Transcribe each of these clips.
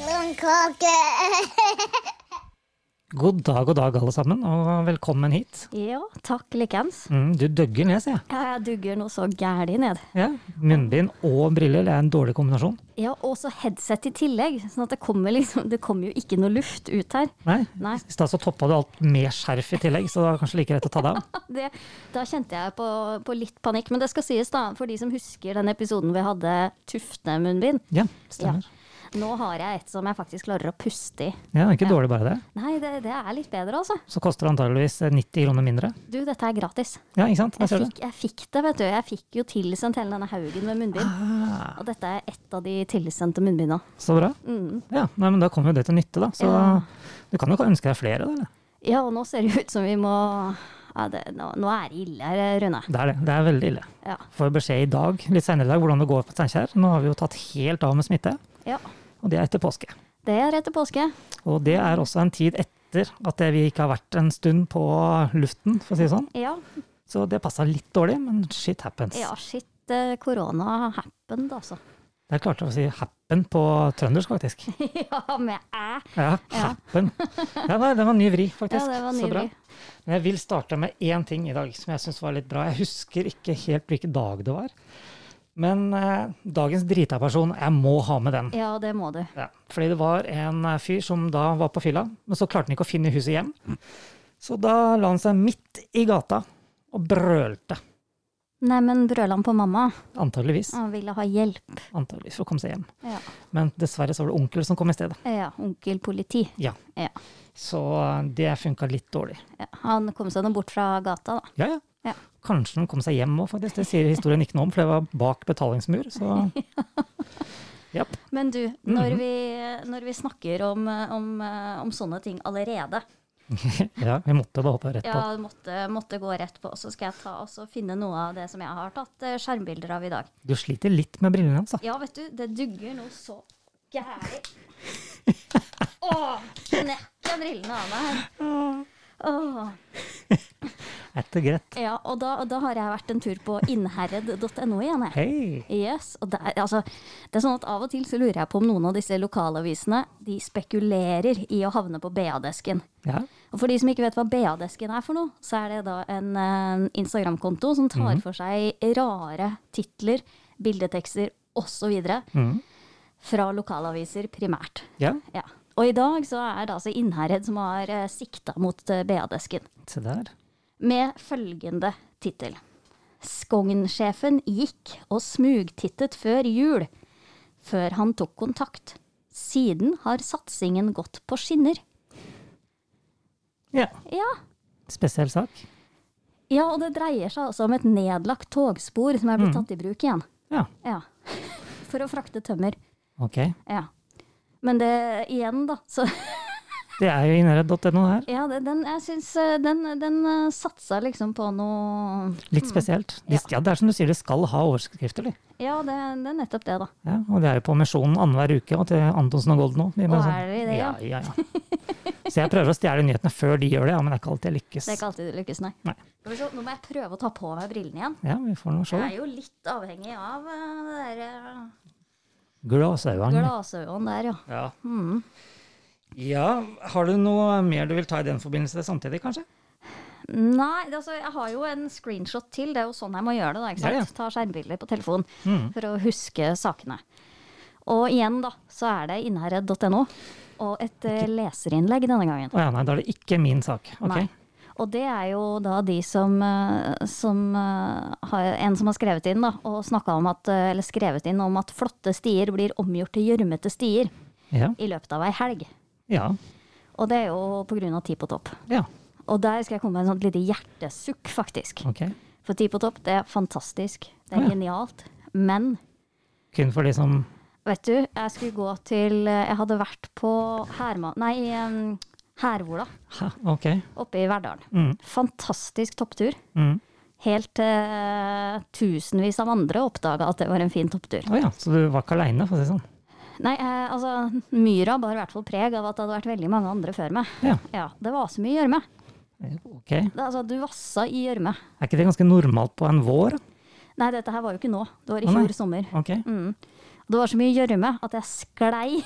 pepperkake. God dag, god dag, alle sammen, og velkommen hit. Ja, takk likeens. Mm, du døgger ned, sier jeg. Ja, jeg dugger noe så gæli ned. Ja. Munnbind og briller det er en dårlig kombinasjon. Ja, og så headset i tillegg, sånn at det kommer liksom Det kommer jo ikke noe luft ut her. Nei. Nei. I stad så toppa du alt med skjerf i tillegg, så det var kanskje like greit å ta det av. Det, da kjente jeg på, på litt panikk. Men det skal sies, da, for de som husker den episoden vi hadde tuftemunnbind. Ja, stemmer. Nå har jeg et som jeg faktisk klarer å puste i. Ja, det er ikke dårlig bare det. Nei, det, det er litt bedre, altså. Så koster det antageligvis 90 kroner mindre. Du, dette er gratis. Ja, ikke sant? Jeg Jeg ser det. fikk, jeg fikk det, vet du. Jeg fikk jo tilsendt hele denne haugen med munnbind. Ah, Og dette er ett av de tilsendte munnbindene. så bra. Mm. Ja, nei, men Da kommer jo det til nytte, da. Så Ja. du kan jo ikke ønske deg flere, da. eller? Ja, og nå ser det ut som vi må ja, det, nå, nå er det ille her, Rune. Det er det. Det er veldig ille. Ja. Får beskjed i dag, litt senere i dag, hvordan det går på Steinkjer. Nå har vi jo tatt helt av med smitte, ja. og det er etter påske. Det er etter påske. Og det er også en tid etter at vi ikke har vært en stund på luften, for å si det sånn. Ja. Så det passa litt dårlig, men shit happens. ja shit, eh, korona happened, altså. Der klarte jeg å si 'happen' på trøndersk, faktisk. ja, med æ. Ja, happen. Ja, nei, det var en ny vri, faktisk. Ja, det var en ny Så bra. vri. Men jeg vil starte med én ting i dag som jeg syns var litt bra. Jeg husker ikke helt hvilken dag det var. Men eh, dagens drita person, jeg må ha med den. Ja, det må du. Ja, fordi det var en eh, fyr som da var på fylla, men så klarte han ikke å finne huset hjem. Mm. Så da la han seg midt i gata og brølte. Neimen, brølan på mamma. Antageligvis. Han ville ha hjelp. Antageligvis for å komme seg hjem. Ja. Men dessverre så var det onkel som kom i stedet. ja onkel politi. Ja, Ja. Så eh, det funka litt dårlig. ja. Han kom seg nå bort fra gata, da. Ja, ja. Ja. Kanskje han kom seg hjem òg, faktisk. Det sier historien ikke noe om, for det var bak betalingsmur. Så Japp. Men du, når, vi, når vi snakker om, eh, om, eh, om sånne ting allerede, Ja, vi måtte bare hoppe rett på. Ja, måtte, måtte gå rett på. Så skal jeg ta og så finne noe av det som jeg har tatt eh, skjermbilder av i dag. Du sliter litt med brillene altså. hans, da. Ja, vet du, det dugger noe så gæli. Å, knekker brillene av meg her. Åh. Er det greit? Ja, og da, og da har jeg vært en tur på innherred.no igjen, jeg. Hei! Yes, og der, altså, det er sånn at Av og til så lurer jeg på om noen av disse lokalavisene de spekulerer i å havne på BA-desken. Ja. Og for de som ikke vet hva BA-desken er for noe, så er det da en eh, Instagram-konto som tar for seg rare titler, bildetekster osv. Mhm. fra lokalaviser primært. ja. Ja. Og i dag så er det altså Innherred som har eh, sikta mot eh, BA-desken, Se der. med følgende tittel. Skogn-sjefen gikk og smugtittet før jul, før han tok kontakt. Siden har satsingen gått på skinner. Ja. Ja, Spesiell sak. Ja, og det dreier seg altså om et nedlagt togspor som er blitt tatt i bruk igjen. Ja, Ja. For å frakte tømmer. ok. Ja. Men det igjen, da. Så Det er jo innredd.no her. ja, det, den, jeg syns eh, den, den eh, satsa liksom på noe Litt spesielt. De, ja. Det er som du sier, de skal ha overskrifter, de. Ja, det, det er nettopp det, da. Ja, og de er jo på misjonen annenhver uke og til Antonsen og Golden òg. De bare Å, sånn, er de det, ja? ja? Ja, ja, Så jeg prøver å stjele nyhetene før de gjør det, ja, men det er ikke alltid jeg lykkes. Det er ikke alltid det lykkes, nei. Nei. Skal vi se, Nå må jeg prøve å ta på meg brillene igjen. Ja, vi får nå se. Jeg er jo litt avhengig av eh, det derre Glasauene. glasøyet der, ja. Ja. Mm. ja, har du noe mer du vil ta i den forbindelse samtidig, kanskje? Nei, det- altså, jeg har jo en screenshot til. Det er jo sånn jeg må gjøre det. da, ikke sant? Ja, Mm. ja. Ta skjermbilder på telefon for å huske sakene. Og igjen, da, så er det innherred.no. Og et eh, leserinnlegg denne gangen. Å ja, nei, da er det ikke min sak. Ok. Nei. Og det er jo da de som, eh, som eh, har En som har skrevet inn, da, og snakka om at eh, Eller skrevet inn om at flotte stier blir omgjort til gjørmete stier Ja. i løpet av ei helg. ja. Og det er jo på grunn av Ti på topp. Ja. Og der skal jeg komme med en sånn lite hjertesukk, faktisk. Ok. For Ti på topp, det er fantastisk. Å, Det er ja. genialt. Men Kun for de som vet du, jeg skulle gå til Jeg hadde vært på Herma... Nei, em, Hervola Hæ, ok. oppe i Verdalen. Mm. Fantastisk topptur. Mm. Helt til tusenvis av andre oppdaga at det var en fin topptur. Å ja, så du var ikke aleine, for å si det sånn. Nei, eh, altså, myra bar i hvert fall preg av at det hadde vært veldig mange andre før meg. Ja. Det var så mye gjørme. Ok. Er Det- Altså, du vassa i gjørme. ikke det ganske normalt på en vår? Nei, dette her var jo ikke nå. Det var i Å, nei. Mm. fjor sommer. Ok. Det var så mye gjørme at jeg sklei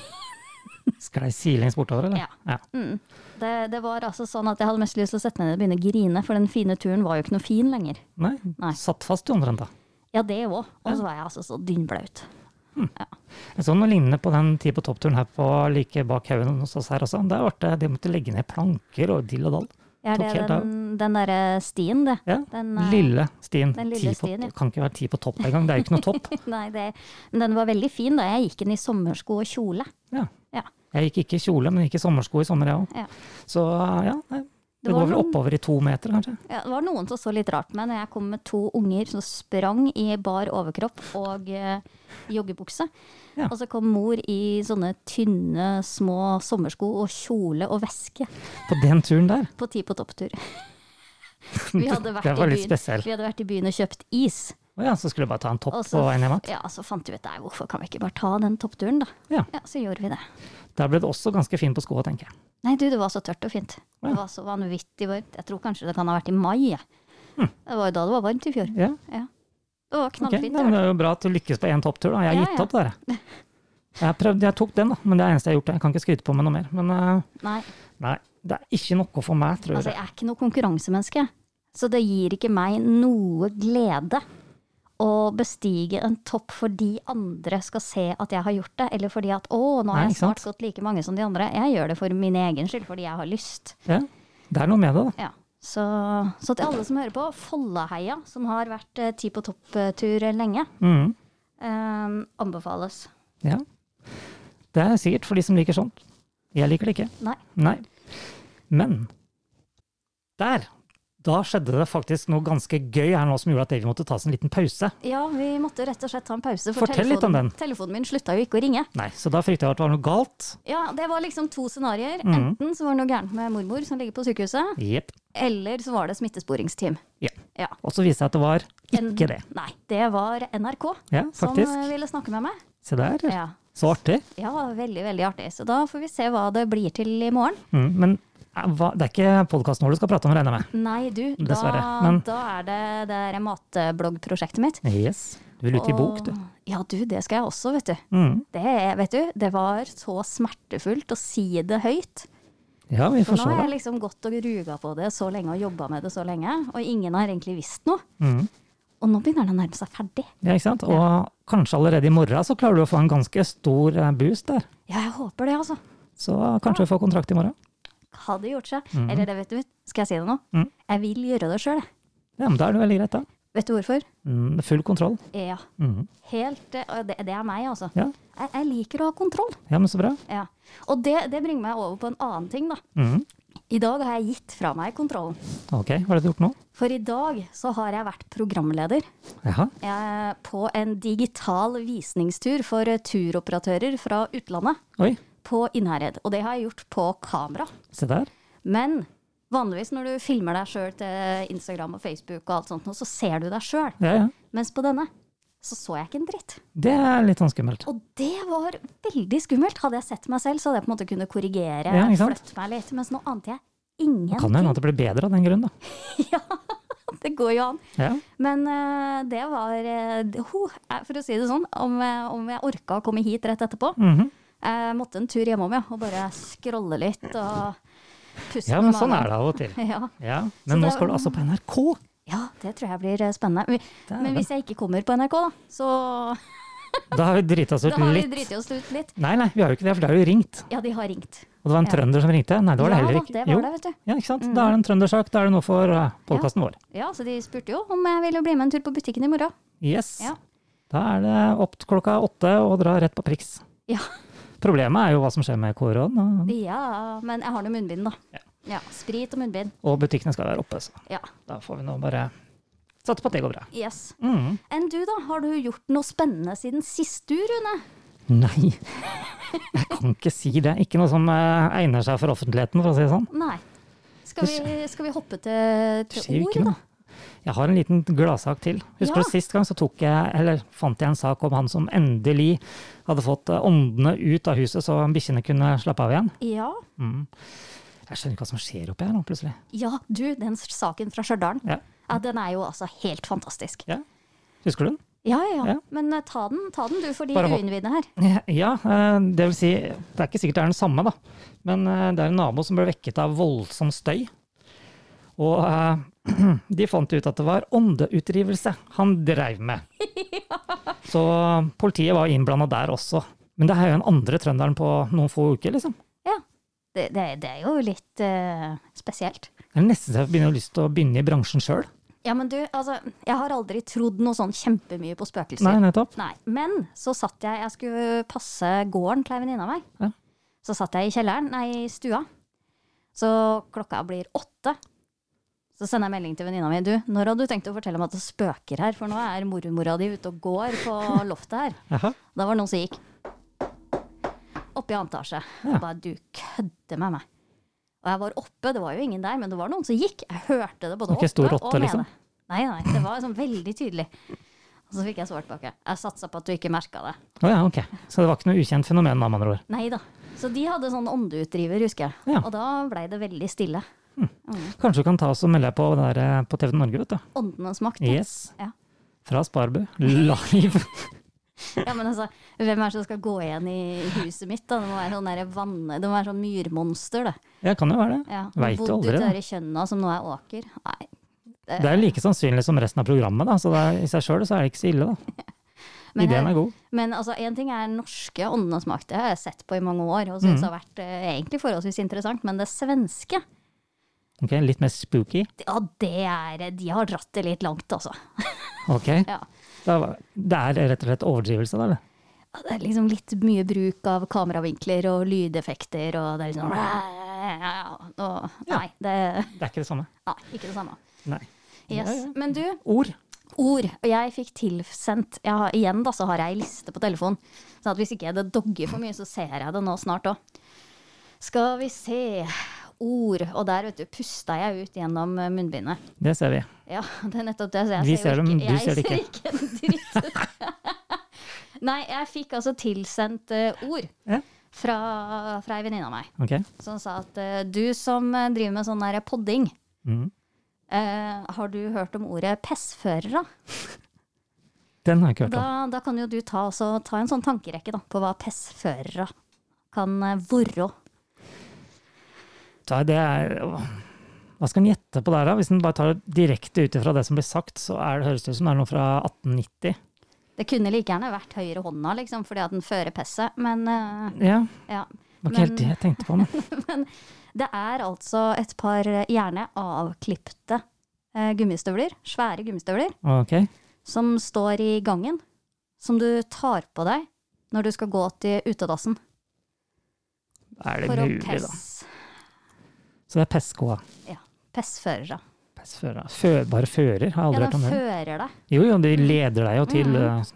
Sklei sidelengs bortover, eller? Ja. Mm. Det, det var altså sånn at jeg hadde mest lyst til å sette meg ned og begynne å grine, for den fine turen var jo ikke noe fin lenger. Nei? Nei. Satt fast i omtrent, da. Ja, det òg. Og så var jeg altså så dynnblaut. Jeg så noe lignende på den tid på toppturen her på like bak haugen hos oss her også. Der ble det, de måtte legge ned planker og dill og dall. Ja, Tok det er helt den, den derre stien, det. Ja, Den, eh, lille stien. den lille Ti på- stien, ja. Kan ikke være ti på topp engang, det er jo ikke noe topp. Nei, det, men den var veldig fin da. Jeg gikk den i sommersko og kjole. Ja. Ja. Jeg gikk ikke i kjole, men gikk i sommersko i sommer, jeg òg. Ja. Så ja, nei. Det det var går vel noen- oppover i to meter, kanskje. Ja, det var noen som så litt rart på meg når jeg kom med to unger som sprang i bar overkropp og eh, joggebukse. Ja. Og så kom mor i sånne tynne, små sommersko og kjole og veske På den turen der. på Ti på topp-tur. Vi hadde vært, Det var i litt byen, spesiell. vi hadde vært i byen og kjøpt is. Å ja, så skulle du bare ta en topp Og på en hjemme. ja, så fant vi ut nei, hvorfor kan vi ikke bare ta den toppturen, da. Ja. Ja, Så gjorde vi det. Der ble det også ganske fin på skoa, tenker jeg. Nei, du, det var så tørt og fint. Ja. Det var så vanvittig varmt. Jeg tror kanskje det kan ha vært i mai. jeg. Det var jo da det var varmt i fjor. Ja, Ja. Det var Hm. ok. knallfint. Nei, men det er jo bra at du lykkes på én topptur, da. Jeg har Ja, gitt ja. opp der, jeg. Jeg, prøvde, jeg tok den, da, men det er det eneste jeg har gjort. Jeg kan ikke skryte på meg noe mer. Men eh, Nei, nei, det er ikke noe for meg, tror altså jeg. jeg er ikke noe konkurransemenneske. Så det gir ikke meg noe glede å bestige en topp fordi andre skal se at jeg har gjort det, eller fordi at 'å, nå har Nei, jeg ikke sant? snart gått like mange som de andre'. Jeg gjør det for min egen skyld, fordi jeg har lyst. Ja. Det er noe med det, da. Ja. Så, så til alle som hører på, Foldaheia, som har vært eh, ti på topp-tur lenge, Mhm. eh, anbefales. Ja. Det er sikkert for de som liker sånt. Jeg liker det ikke. Nei. Nei. Men der! Da skjedde det faktisk noe ganske gøy her nå som gjorde at Davy måtte ta seg en liten pause. Ja, vi måtte rett og slett ta en pause, for Fortell litt om den. telefonen, telefonen min slutta jo ikke å ringe. Nei, Så da frykta jeg at det var noe galt. Ja, det var liksom to scenarioer. Mm. Enten så var det noe gærent med mormor som ligger på sykehuset, Jepp. eller så var det smittesporingsteam. Ja. Ja. Og så viste det seg at det var ikke det. Nei, det var NRK Ja, som faktisk. eh, ville snakke med meg. Se der. Ja. Så artig. ja, veldig, veldig artig. Så da får vi se hva det blir til i morgen. Mm, men eh, hva, det er ikke podkasten vår du skal prate om, regner jeg med? Nei, du, da, Dessverre, men- da er det det der matbloggprosjektet mitt. Yes. Du vil ut i bok, du. Og- Ja, du, det skal jeg også, vet du. Mm. Det, er- vet du. det var så smertefullt å si det høyt. Ja, vi For får nå se, har da. jeg liksom gått og ruga på det så lenge og jobba med det så lenge, og ingen har egentlig visst noe. Mhm. Og nå begynner det å nærme seg ferdig. Ja, ikke sant? Og kanskje allerede i morgen så klarer du å få en ganske stor eh, boost der. Ja, jeg håper det, altså. Så kanskje du får kontrakt i morgen. Hadde gjort seg. Eller det, vet du, skal jeg si det nå? Mhm. Jeg vil gjøre det sjøl, jeg. Ja, men da er det veldig greit, da. Vet du hvorfor? Mm, full kontroll. Ja. Mhm. Helt eh, og Det, det er meg, altså. Ja. Jeg, jeg liker å ha kontroll. ja, men så bra. Ja. Og det, det bringer meg over på en annen ting, da. Mhm. I dag har jeg gitt fra meg kontrollen. Ok, hva har du gjort nå? For i dag så har jeg vært programleder Jaha. eh, på en digital visningstur for eh, turoperatører fra utlandet. Oi, på Innherred. Og det har jeg gjort på kamera. se der. Men vanligvis når du filmer deg sjøl til Instagram og Facebook, og alt sånt, nå, så ser du deg sjøl. Ja, ja. Mens på denne så så jeg ikke en dritt. Det er litt sånn skummelt. Og det var veldig skummelt. Hadde jeg sett meg selv, så hadde jeg på en måte kunnet korrigere, Ja, ikke sant? flytte meg litt. Mens nå ante jeg ingenting. Kan det hende at det blir bedre av den grunn, da. Det går jo an. Ja. Men eh, det var eh, det- ho, eh, For å si det sånn, om, eh, om jeg orka å komme hit rett etterpå, Mhm. jeg måtte en tur hjemom, ja. Og bare scrolle litt og puste ja, men sånn er det av og til. Ja. Ja. Men Så nå det- skal du altså på NRK! ja, det tror jeg blir eh, spennende. Men- Dæven. Men hvis jeg ikke kommer på NRK, da, så Da har vi drita oss ut da har vi litt. driti oss ut litt. Nei, nei, vi har jo ikke det, for det er jo ringt. Ja, de har ringt. Og det var en Ja. trønder som ringte. Nei, det var det ja, heller da, ikke. det Jo. var det, Mm. vet du. Ja, ikke sant? Da er det en trøndersak. Da er det noe for podkasten vår. Ja, så de spurte jo om jeg ville bli med en tur på butikken i morgen. Yes. Ja. Da er det opp til klokka åtte og dra rett på priks. Ja, Problemet er jo hva som skjer med korona, ja men jeg har nå munnbind, da. Ja, Sprit og munnbind. og butikkene skal være oppe, så Ja. da får vi nå bare satse på at det går bra. Yes. Mhm. Enn du, da? Har du gjort noe spennende siden sist du, Rune? Nei, jeg kan ikke si det. Ikke noe som eh, egner seg for offentligheten, for å si det sånn. Nei. Skal vi, skal vi hoppe til, Det skjer til jo ikke ord, da? noe. Jeg har en liten gladsak til. Husker Ja. du sist gang så tok jeg, eller fant jeg en sak om han som endelig hadde fått eh, åndene ut av huset, så bikkjene kunne slappe av igjen? Ja. Jeg skjønner ikke hva som skjer oppi her nå, plutselig. ja, du, den saken fra Stjørdal. Ja. Ja, den er jo altså helt fantastisk. ja. Husker du den? Ja, ja, ja. Ja. Men eh, ta den, ta den du, for de Bare hold- uinnvidde her. Ja, eh, det vil si Det er ikke sikkert det er den samme, da. Men eh, det er en nabo som ble vekket av voldsom støy. Og eh, de fant ut at det var åndeutdrivelse han dreiv med. Så politiet var innblanda der også. Men det er jo den andre trønderen på noen få uker, liksom. Ja. Det, det, det er jo litt eh, spesielt. Det er nesten så jeg begynner å ha lyst til å begynne i bransjen sjøl. Ja, men du, altså, jeg har aldri trodd noe sånn kjempemye på spøkelser. Nei, nettopp. Nei, men så satt jeg Jeg skulle passe gården til ei venninne av meg. Ja. Så satt jeg i kjelleren, nei, i stua. Så klokka blir åtte. Så sender jeg melding til venninna mi. Du, når hadde du tenkt å fortelle meg at det spøker her? For nå er mormora di ute og går på loftet her. Jaha. Da var det noen som gikk opp i annen etasje. Ja. Jeg bare, du kødder med meg. Og jeg var oppe, det var jo ingen der, men det var noen som gikk. Jeg hørte det både Ikke stor oppe rotte, og nede. liksom? Nei, nei, det var sånn veldig tydelig. Og så fikk jeg svart tilbake. Jeg satsa på at du ikke merka det. Å ja, ok. Så det var ikke noe ukjent fenomen, med andre ord. Nei da. Så de hadde sånn åndeutdriver, husker jeg. Ja. Og da blei det veldig stille. Kanskje du kan ta oss og melde deg på, det der, eh, på TV Norge, vet du. Åndenes makt. ja. Yes. Ja. Fra Sparbu. Live. Ja, men altså, hvem er det som skal gå igjen i huset mitt? da? Det må være sånn der vann... Det må være sånn myrmonster, det. Ja, kan jo være det. Ja. Vet jo aldri, Bodd da. ute der i Kjønna, som nå er åker. Nei, Det er like sannsynlig som resten av programmet, da. så det er, i seg sjøl er det ikke så ille. da. Men Ideen her- er god. Men altså, en ting er norske åndenes makt, det har jeg sett på i mange år, og Mm. syns det har vært eh, egentlig forholdsvis interessant, men det svenske, Ok, Litt mer spooky. ja, det er eh, De har dratt det litt langt, altså. Ok, Ja. da, var- Det er rett og slett overdrivelse, da? eller? Ja, Det er liksom litt mye bruk av kameravinkler og lydeffekter, og det er liksom og, Nei, det Det er ikke det samme? Nei, ikke det samme. Nei. Yes. Ja, ja. Men du, Ord. ord. Og jeg fikk tilsendt jeg har, Igjen da, så har jeg ei liste på telefonen. Så at hvis ikke det dogger for mye, så ser jeg det nå snart òg. Skal vi se Ord. Og der, vet du, pusta jeg ut gjennom eh, munnbindet. Det ser vi. Ja, det er nettopp det. Så jeg Vi ser, ser jo dem, ikke, du ser det jeg ser ikke en dritt. Nei, jeg fikk altså tilsendt eh, ord Ja. fra, fra ei venninne av meg Ok. som sa at eh, du som eh, driver med sånn der podding, Mhm. eh, har du hørt om ordet pessførere? Den har jeg ikke hørt om. Da, da kan jo du ta, også, ta en sånn tankerekke da, på hva pessførere kan eh, være. Da, Det er, hva skal en gjette på der, da? Hvis en bare tar det direkte ut ifra det som blir sagt, så er det, høres det ut som det er noe fra 1890. Det kunne like gjerne vært høyre hånda, liksom, fordi at den fører pesset, men eh, Ja, ja. det var ikke Men helt det jeg tenkte på. Men. det er altså et par eh, gjerne avklipte eh, gummistøvler, svære gummistøvler, Ok, som står i gangen, som du tar på deg når du skal gå til utedassen er det for å mulig, da? pess, Så det er Pescoa. pessførere. Pessføra. Fø, bare fører, har jeg Ja, aldri hørt den om det. fører deg. Jo, jo, de leder deg jo til eh,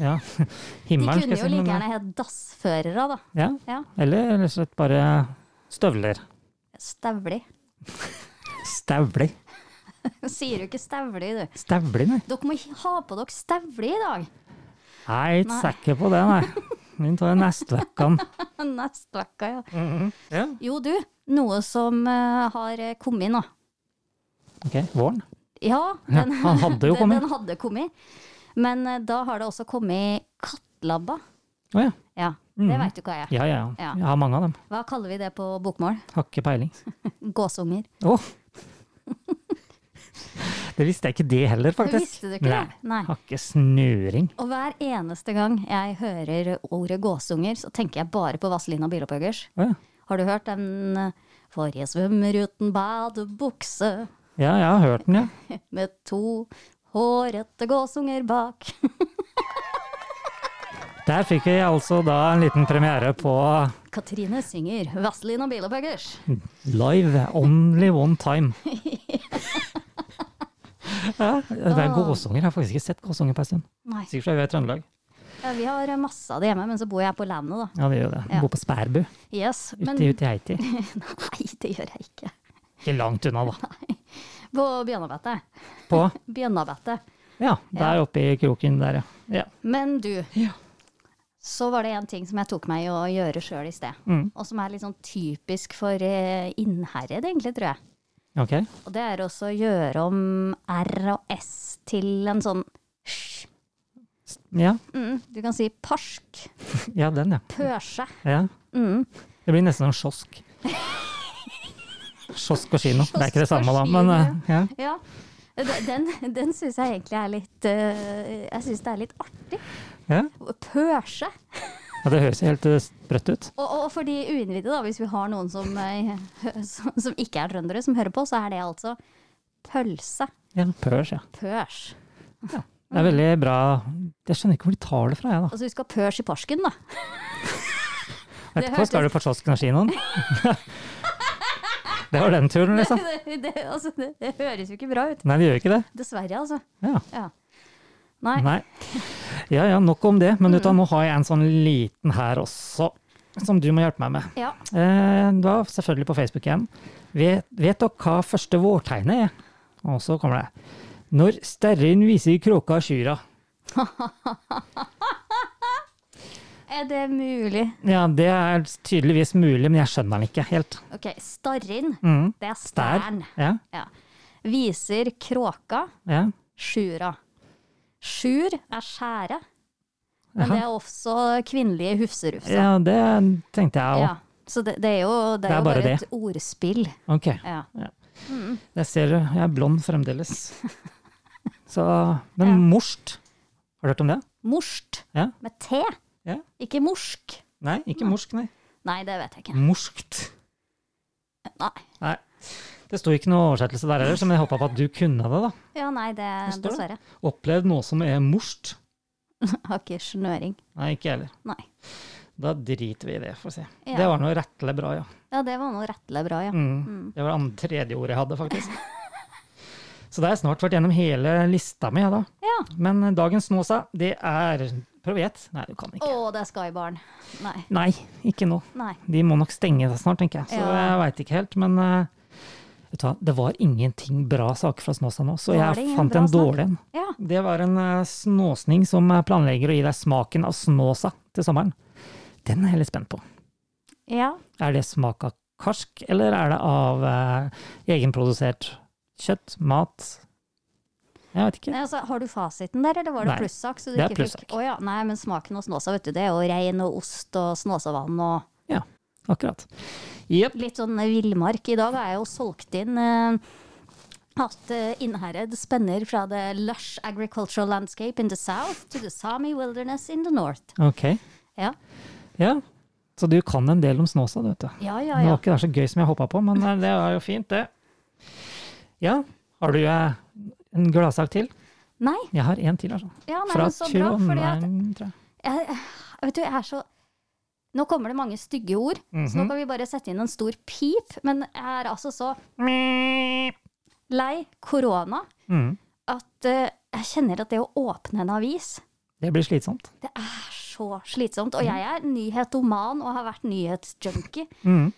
ja, Mm. De himmelen. kunne skal jeg jo si, men, eh, like gjerne hett dassførere, da. Ja, Ja. eller rett og slett bare støvler. Stævlig. Stævlig. Sier du ikke stævlig, du? Stævlig, nei. Dere må ha på dere stævlig i dag! Nei, jeg er ikke sikker på det, nei. Vi tar det neste uke. Neste uke, ja. Ja. Jo, du, noe som eh, har kommet nå. Ok, våren. Ja, Ja, den, han hadde jo kommet. den hadde kommet. Men eh, da har det også kommet kattlabba. Å ja. Ja, Mhm. det veit du hva er. Ja, ja, ja. Ja. Jeg har mange av dem. Hva kaller vi det på bokmål? Har ikke peiling. Gåsunger. Å! Det visste jeg ikke det heller, Du faktisk. visste du ikke det? Nei. Nei. Har ikke snøring. Og hver eneste gang jeg hører ordet gåsunger, så tenker jeg bare på Vazelina Bilopphøggers. Å ja. Har du hørt den eh, forrige svømmer uten badebukse? ja, jeg har hørt den, ja. med to hårete gåsunger bak. Der fikk vi altså da en liten premiere på Katrine synger Vazelina Bilopphøggers. Live only one time. Ja, det er gåsunger. Jeg har faktisk ikke sett gåsunger på en stund. Nei. Sikkert fordi vi er i Trøndelag. Ja, vi har masse av det hjemme, men så bor jeg på landet, da. Ja, det gjør det. Ja. Bor på Spærbu, Yes, ute men i- ute i Heiti. Nei, det gjør jeg ikke. Ikke langt unna, da. På Bjørnabettet. På Bjørnabettet. Ja, der oppe i kroken der, ja. ja. Men du, Ja. så var det en ting som jeg tok meg i å gjøre sjøl i sted, Mm. og som er litt sånn typisk for eh, Innherred, egentlig, tror jeg. Ok. Og det er også å gjøre om R og S til en sånn sj. Ja, Mm, du kan si parsk, ja den, ja. pørse. ja. Mm. Det blir nesten en kiosk. Kiosk og kino. Det er ikke det samme, da, Kiosk og men kino, eh, ja. Ja. Den- Den, den syns jeg egentlig er litt eh, Jeg syns det er litt artig. Ja. Pørse. Ja, det høres jo helt eh, sprøtt ut. Og, og for de uinnvidde, da, hvis vi har noen som, eh, hø- som, som ikke er trøndere, som hører på, så er det altså pølse. Ja, pørs, ja. Pørs. Det Mm. er veldig bra Jeg skjønner ikke hvor de tar det fra, jeg, da. Altså, du skal pørs i parsken, da. Det Etterpå skal du hørtes- på kiosken og kinoen. det var den turen, liksom. Det, det, altså, det, det høres jo ikke bra ut. Nei, det gjør ikke det. Dessverre, altså. Ja. Ja. Nei. Mm. Nei. Ja ja, nok om det. Men vet du, nå har jeg en sånn liten her også, som du må hjelpe meg med. Ja. Eh, da selvfølgelig på Facebook igjen. Vet, vet dere hva første vårtegnet er? Og så kommer det. Når sterren viser kråka kyra. Er det mulig? Ja, det er tydeligvis mulig, men jeg skjønner den ikke helt. OK. Starrin, Mm. det Der. er stern. Ja, Ja. Viser kråka ja. sjura. Sjur er skjære, men Jaha. det er også kvinnelige hufserufser. ja, det tenkte jeg òg. Ja, Så det, det er jo, det er jo bare bare, et ordspill. Ok. Ja. Jeg ser du, jeg er blond fremdeles. Så, men Ja. morst, har du hørt om det? Morst Ja. med T, Ja. ikke morsk. Nei, ikke morsk, nei. Nei, det vet jeg ikke. Morskt. Nei. Nei. Det sto ikke noe oversettelse der heller, så men jeg håpa på at du kunne det, da. Ja, nei, det, står det. dessverre. Opplevd noe som er morst? Har ikke snøring. Nei, ikke jeg heller. Nei. Da driter vi i det, får vi si. Ja. Det var noe rettelig bra, ja. Ja, det var noe rettelig bra, ja. Mm. Det var det andre- tredje ordet jeg hadde, faktisk. Så da har jeg snart vært gjennom hele lista mi, ja da. Ja. Men eh, dagens Snåsa, det er Prøv å gjette. Nei, du kan Å, ikke. det er Skybarn. Nei. Nei, ikke nå. Nei. De må nok stenge det snart, tenker jeg. Så jeg Ja. veit ikke helt. Men eh, vet du hva, det var ingenting bra saker fra Snåsa nå, så Var det jeg ingen fant bra en sak? dårlig en. Ja. Det var en eh, snåsning som eh, planlegger å gi deg smaken av snåsa til sommeren. Den er jeg litt spent på. ja. Er det smak av karsk, eller er det av eh, egenprodusert kjøtt, mat? Jeg vet ikke. Nei, altså, har du fasiten der, eller var det Nei. plussak? så du Det er ikke plussak. Fikk... Å ja. Nei, men smaken av snåsa, vet du, det er jo rein og ost og snåsavann og Akkurat. Jepp. litt sånn villmark. I dag har jeg jo solgt inn eh, at eh, Innherred spenner fra the lush agricultural landscape in the south to the Sami wilderness in the north. Ok. Ja, Ja. Så du kan en del om snåsa, du vet du. ja, ja. Det ja. var ikke det så gøy som jeg håpa på, men eh, det var jo fint, det. Ja, har du eh, en gladsak til? Nei, Jeg har en til, altså. ja, nei, Fra men så bra, fordi at Trondheim, tror jeg. jeg, Vet du, jeg er så Nå kommer det mange stygge ord, så nå kan vi bare sette inn en stor pip, men jeg er altså så lei korona Mm. at eh, jeg kjenner at det å åpne en avis Det blir slitsomt. Det er så slitsomt. Og jeg er nyhetoman og har vært nyhetsjunkie. Mm.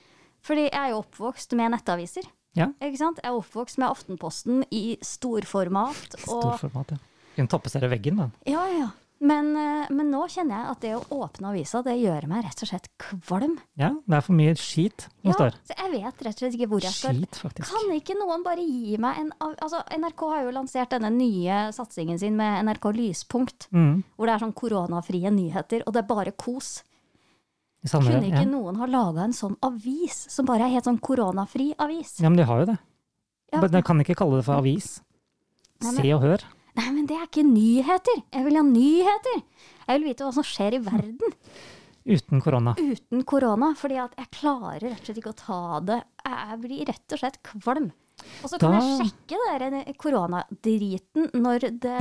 Fordi jeg er jo oppvokst med nettaviser. Ja. Ikke sant? Jeg er oppvokst med Aftenposten i storformat. Og, Storformat, ja. Kunne tapetsere veggen, da. ja, ja. Men, eh, men nå kjenner jeg at det å åpne avisa, det gjør meg rett og slett kvalm. Ja, det er for mye skit som Ja, står. så jeg vet rett og slett ikke hvor jeg skal. Skit, faktisk. Kan ikke noen bare gi meg en av... Altså, NRK har jo lansert denne nye satsingen sin med NRK Lyspunkt, Mm. hvor det er sånn koronafrie nyheter, og det er bare kos. Det samme, Kunne ikke ja. noen ha laga en sånn avis, som bare er helt sånn koronafri avis? ja, men de har jo det. Ja. Men jeg kan ikke kalle det for avis. Nei, men- Se og hør. Nei, men det er ikke nyheter! Jeg vil ha nyheter! Jeg vil vite hva som skjer i verden Uten korona. uten korona, fordi at jeg klarer rett og slett ikke å ta det. Jeg blir rett og slett kvalm. Og så kan Da- jeg sjekke det der eh, koronadriten når det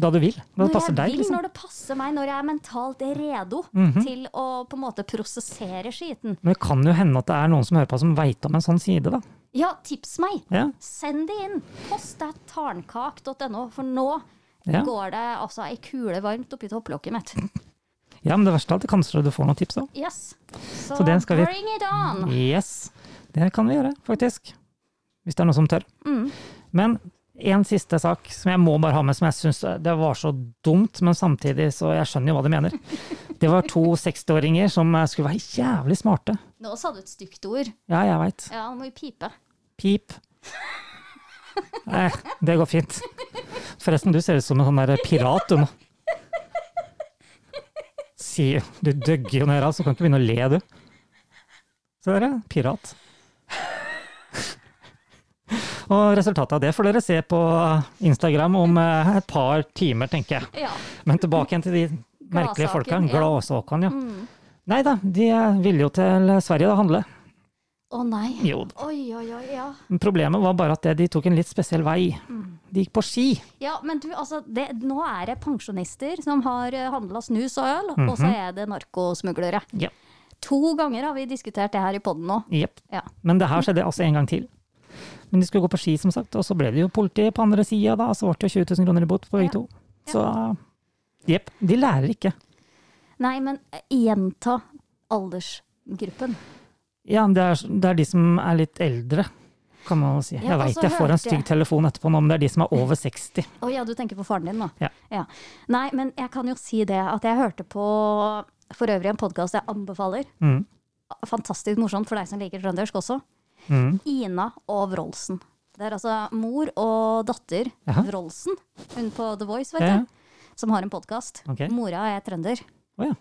Da du vil. Da det Når passer jeg deg, vil, liksom. Mhm. når det passer meg, når jeg er mentalt redo til å på en måte prosessere skiten. Men det kan jo hende at det er noen som hører på som veit om en sånn side, da. Ja, tips meg! Ja. Send det inn. Post at tarnkak.no, for nå Ja. går det altså ei kule varmt oppi topplokket mitt. ja, men det verste av alt, kanskje du får noen tips, da. Yes. Så, Så den skal vi- bring it on! Yes. Det kan vi gjøre, faktisk. Hvis det er noe som tør. Mm. Men en siste sak som jeg må bare ha med, som jeg syns eh, det var så dumt, men samtidig så jeg skjønner jo hva de mener. Det var to 60-åringer som eh, skulle være jævlig smarte. Nå sa du et stygt ord. Ja, jeg veit. Ja, nå må vi pipe. Pip. Nei, det går fint. Forresten, du ser ut som en sånn der pirat, du nå. si Du døgger jo ned av, så kan ikke begynne å le, du. Se dere, pirat. Og resultatet av det får dere se på Instagram om eh, et par timer, tenker jeg. Ja. Men tilbake igjen til de merkelige folka. Gladsaken, ja. Gladsåkene, ja. Mm. Nei da, de eh, ville jo til Sverige da handle. Å nei. Jo da. Oi, oi, oi. Ja. Mm. Men Problemet var bare at det- de tok en litt spesiell vei. De gikk på ski. Ja, men du, altså, det, nå er det pensjonister som har handla snus og øl, og så Mhm. er det narkosmuglere. Ja. To ganger har vi diskutert det her i poden nå. Jepp. Ja. Men det her skjedde altså en gang til. Men de skulle gå på ski, som sagt, og så ble det jo politi på andre sida, da, så ble det jo 20 000 kroner i bot på begge to. Så jepp. De lærer ikke. Nei, men eh, gjenta aldersgruppen. Ja, det er, det er de som er litt eldre, kan man vel si. Ja, Jeg og veit så jeg får en hørte jeg- stygg telefon etterpå nå, men det er de som er over 60. Å ja, du tenker på faren din, da. Ja. Nei, men jeg kan jo si det at jeg hørte på for øvrig en podkast jeg anbefaler. Mm. Fantastisk morsomt for deg som liker trøndersk også. Mm. Ina og Wroldsen. Det er altså mor og datter Jaha. Wroldsen, hun på The Voice, vet Ja, ja. du, som har en podkast. Ok. Mora er trønder, Å ja.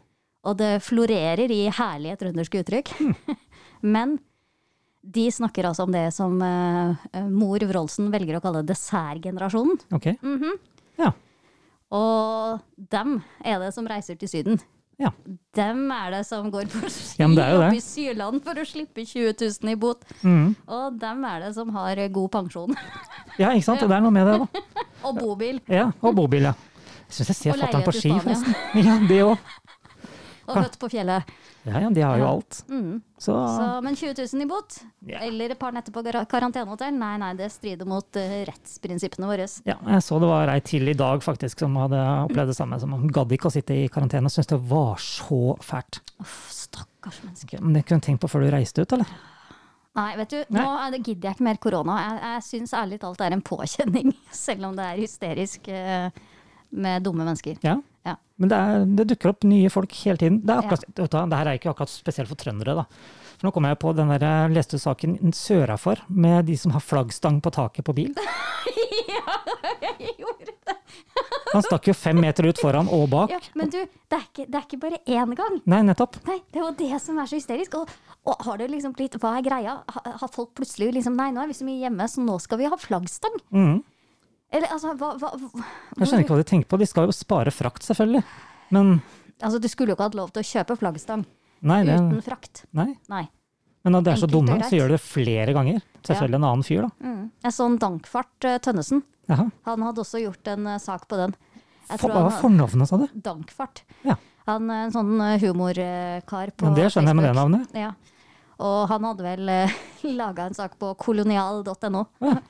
og det florerer i herlige trønderske uttrykk. Hmm. Men de snakker altså om det som eh, mor Wroldsen velger å kalle dessertgenerasjonen. Ok. Mhm. Ja. Og dem er det som reiser til Syden. Ja. Dem er det som går på ski Ja, men det er jo opp det. i Syrland for å slippe 20 000 i bot. Mm. Og dem er det som har god pensjon. ja, ikke sant? Det er noe med det, da. Og bobil. Ja, og bobil, ja. Jeg syns jeg ser Og fatter'n på leilighet i ski, Spania. forresten. Ja, det òg. Og født på fjellet. Ja, ja, de har jo alt. Mm. Så, Så, men 20 000 i bot, Ja. eller et par netter på gar- karantenehotell, nei, nei, det strider mot eh, rettsprinsippene våre. ja, jeg så det var ei til i dag faktisk som hadde opplevd det samme. Som hun gadd ikke å sitte i karantene og syntes det var så fælt. Uff, stakkars menneske. Ok, men det kunne du tenkt på før du reiste ut, eller? Nei, vet du, Nei. nå er det- gidder jeg ikke mer korona. Jeg, jeg syns ærlig talt det er en påkjenning, selv om det er hysterisk eh, med dumme mennesker. Ja. Ja. Men det, er, det dukker opp nye folk hele tiden. Det, er akkurat, vet du hva, det her er ikke akkurat spesielt for trøndere, da. For nå kom jeg på den der jeg leste saken sørafor med de som har flaggstang på taket på bil. Jeg gjorde det. Han stakk jo fem meter ut foran og bak. Ja, men du, det er, ikke, det er ikke bare én gang. Nei, nettopp. Nei, det er jo det som er så hysterisk. Og, og har det liksom blitt, hva er greia? Ha- Har folk plutselig liksom Nei, nå er vi så mye hjemme, så nå skal vi ha flaggstang. Mhm. Eller altså, hva, hva hva- Jeg skjønner ikke hva de tenker på. De skal jo spare frakt, selvfølgelig. Men Altså, du skulle jo ikke hatt lov til å kjøpe flaggstang nei, det, uten frakt. nei. Nei. Men når de er så Enkelt og dumme, greit. så gjør de det flere ganger. Selvfølgelig en annen fyr, da. Jeg så en Dankfart eh, Tønnesen. Jaha. Han hadde også gjort en eh, sak på den. Jeg For, tror hva han var hadde fornavnet, sa du? Dankfart. Ja. Han er en sånn eh, humorkar på Men det skjønner jeg med det Facebook. navnet. Ja. Og han hadde vel laga en sak på kolonial.no. Ja.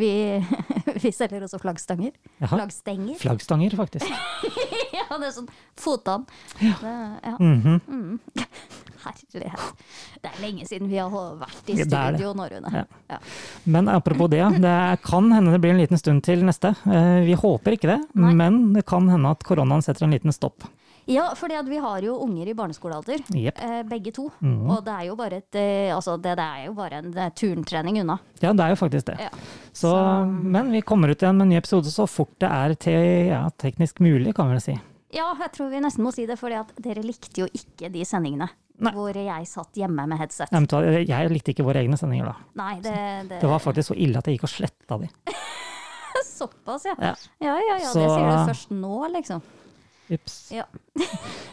Vi, vi selger også flaggstanger. Jaha. Flaggstenger. Flaggstanger, faktisk. Ja, det er sånn fotan. Det, ja. Mm. Mhm. Herlighet. Det er lenge siden vi har vært i Ja, det er det. studio nå, Rune. Ja. Ja. Men apropos det, det kan hende det blir en liten stund til neste. Eh, Vi håper ikke det, Nei. men det kan hende at koronaen setter en liten stopp. Ja, fordi at vi har jo unger i barneskolealder, Jepp. eh, begge to. Mhm. Og det er jo bare, et, eh, altså det, det er jo bare en det er turntrening unna. Ja, det er jo faktisk det. Ja. Så, men vi kommer ut igjen med en ny episode så fort det er te, ja, teknisk mulig, kan vi vel si. Ja, jeg tror vi nesten må si det, for dere likte jo ikke de sendingene Nei. hvor jeg satt hjemme med headset. Nei, men ta- Jeg likte ikke våre egne sendinger da. Nei, det, det, Det var faktisk så ille at jeg gikk og sletta de. er såpass, ja. Ja. Ja, ja, ja, det Så- sier du først nå, liksom. Ups. Ja.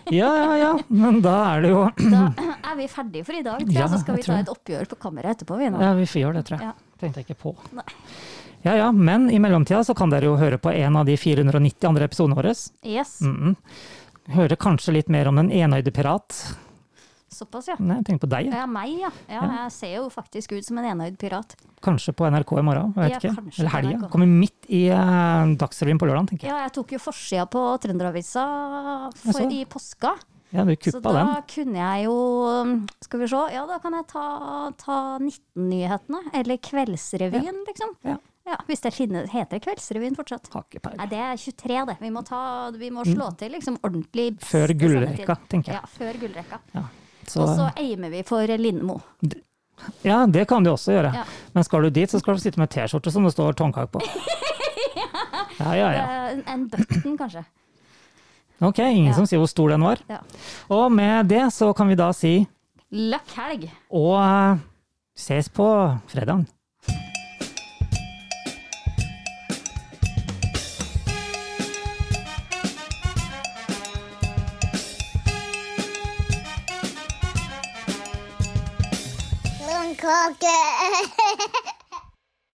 Ja, ja, ja. Men da er det jo Da er vi ferdige for i dag, tror jeg, Ja, så skal jeg vi tror ta det. et oppgjør på kammeret etterpå. Vi, nå. Ja, vi får gjøre det, tror Ja. jeg. Tenkte jeg ikke på. Nei. Ja, ja. Men i mellomtida så kan dere jo høre på en av de 490 andre episodene våre. Yes, Mm Høre kanskje litt mer om den enøyde pirat. såpass, ja. Nei, jeg tenker på deg. jeg. Ja, meg, ja. ja. Jeg ser jo faktisk ut som en enøyd pirat. Kanskje på NRK i morgen. Jeg vet Ja, ikke. kanskje Eller på helga. NRK. Kommer midt i eh, Dagsrevyen på lørdag, tenker jeg. Ja, jeg tok jo forsida på Trønderavisa for, Jaså? i påska. Ja, du Så kuppa da den. kunne jeg jo um, Skal vi se. Ja, da kan jeg ta, ta 19-nyhetene. Eller Kveldsrevyen, liksom. Ja. Ja, Hvis det finnes, heter det Kveldsrevyen fortsatt. Har ikke Nei, peiling. det er 23, det. Vi må, ta, vi må slå til liksom ordentlig. i beste Mm. Før gullrekka, sendetid. tenker jeg. Ja, før gullrekka. Ja. Og så Så, aimer vi for Lindmo. ja, det kan du også gjøre. Ja. Men skal du dit, så skal du sitte med T-skjorte som det står tårnkake på. Ja, ja, ja. Eh, En button, kanskje. Ok, ingen Ja. som sier hvor stor den var. Ja. Og med det så kan vi da si Løkkhelg! og eh, ses på fredagen. Blomkåke!